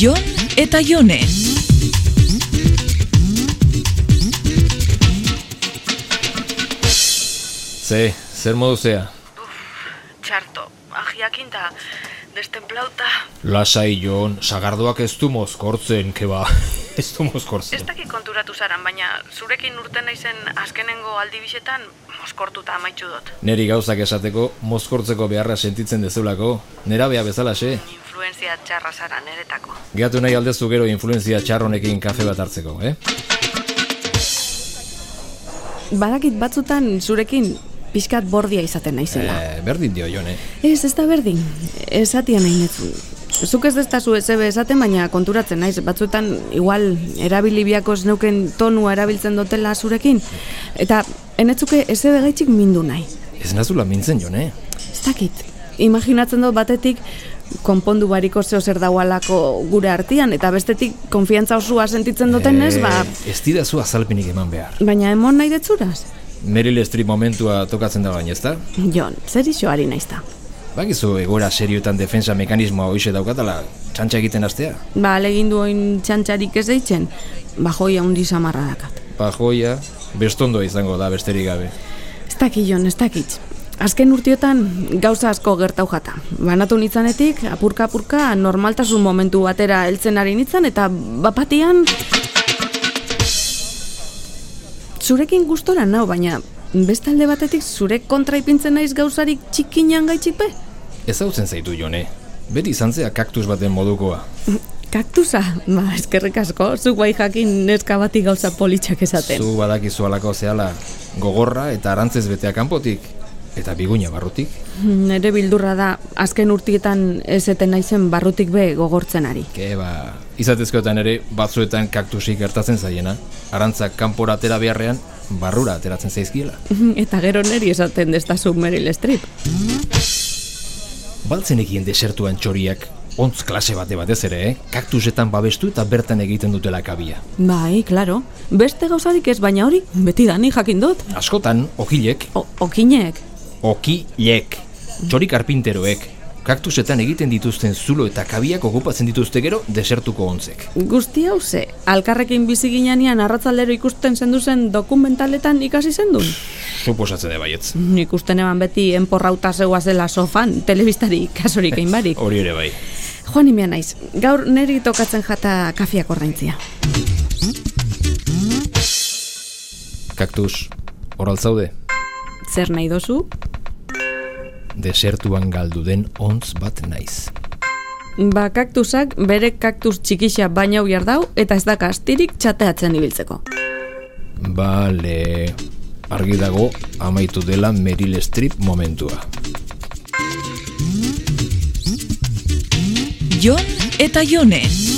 Jon eta Jone. Ze, zer modu zea? Txarto, ahiakin da destemplauta. Lasai jon, sagardoak ez du mozkortzen, keba. ez du Ez mozkortzen. dakik konturatu zaran, baina zurekin urten naizen azkenengo aldi bisetan moskortuta amaitzu dut. Neri gauzak esateko, mozkortzeko beharra sentitzen dezulako, nera beha bezalaxe. Influenzia txarra zara neretako. Geatu nahi aldezu gero influenzia txarronekin kafe bat hartzeko, eh? Badakit batzutan zurekin pixkat bordia izaten naizela. E, berdin dio jone. Ez, ez da berdin. Esatia nahi netzu. Zuk ez destazu ezebe esaten, baina konturatzen naiz. Batzutan, igual, erabilibiako neuken tonua erabiltzen dutela zurekin. Eta, enetzuke ezebe gaitxik mindu nahi. Ez nazula mintzen eh? jone. Ez dakit. Imaginatzen dut batetik, konpondu bariko zeo zer daualako gure artean, eta bestetik, konfiantza osua sentitzen duten ez, Eh, ba... Ez didazu azalpenik eman behar. Baina emon nahi detzuraz? Meryl Streep momentua tokatzen da baina, ezta? Jon, zer isoari naizta? Bakizu egoera serioetan defensa mekanismoa hoxe daukatala, txantxa egiten astea. Ba, alegin du oin txantxarik ez deitzen, ba joi haundi samarra dakat. Pajoia, bestondoa izango da besterik gabe. Ez dakit, Jon, ez dakit. Azken urtiotan gauza asko gertau jata. Banatu nitzanetik, apurka-apurka, normaltasun momentu batera heltzen ari nitzan, eta bapatian... Zurekin gustora nau, baina beste alde batetik zure kontra ipintzen naiz gauzarik txikinan gaitxipe? Ezautzen zaitu jone, beti izan zea kaktus baten modukoa. Kaktusa? Ba, eskerrik asko, zuk bai jakin neska bati gauza politxak esaten. Zu badakizu alako zehala gogorra eta arantzez betea kanpotik, eta biguina barrutik. Nere bildurra da, azken urtietan ez eten naizen barrutik be gogortzen ari. Ke ba, izatezkoetan ere batzuetan kaktusik gertatzen zaiena, arantzak kanpora atera beharrean, barrura ateratzen zaizkiela. Eta gero neri esaten destazu Meryl Streep. Baltzenekien desertuan txoriak, ontz klase bate batez ere, eh? kaktusetan babestu eta bertan egiten dutela kabia. Bai, claro. Beste gauzarik ez, baina hori, beti dani jakin dut. Askotan, okilek, O, okinek. okilek, txori karpinteroek, kaktusetan egiten dituzten zulo eta kabiak okupatzen dituzte gero desertuko ontzek. Guzti hau ze, alkarrekin bizi ginean arratzalero ikusten zendu zen dokumentaletan ikasi zendun. Suposatzen bai, da baietz. Nik usten eman beti enporrauta zegoa zela sofan, telebistari kasorik einbarik. Hori ere bai. Joan imea naiz, gaur neri tokatzen jata kafiak ordaintzia. Kaktus, horal zaude, Zer nahi dozu? desertuan galdu den ontz bat naiz. Ba, kaktusak bere kaktus txikixa baina behar dau eta ez daka astirik txateatzen ibiltzeko. Bale, argi dago amaitu dela Meryl Streep momentua. Jon eta Jone.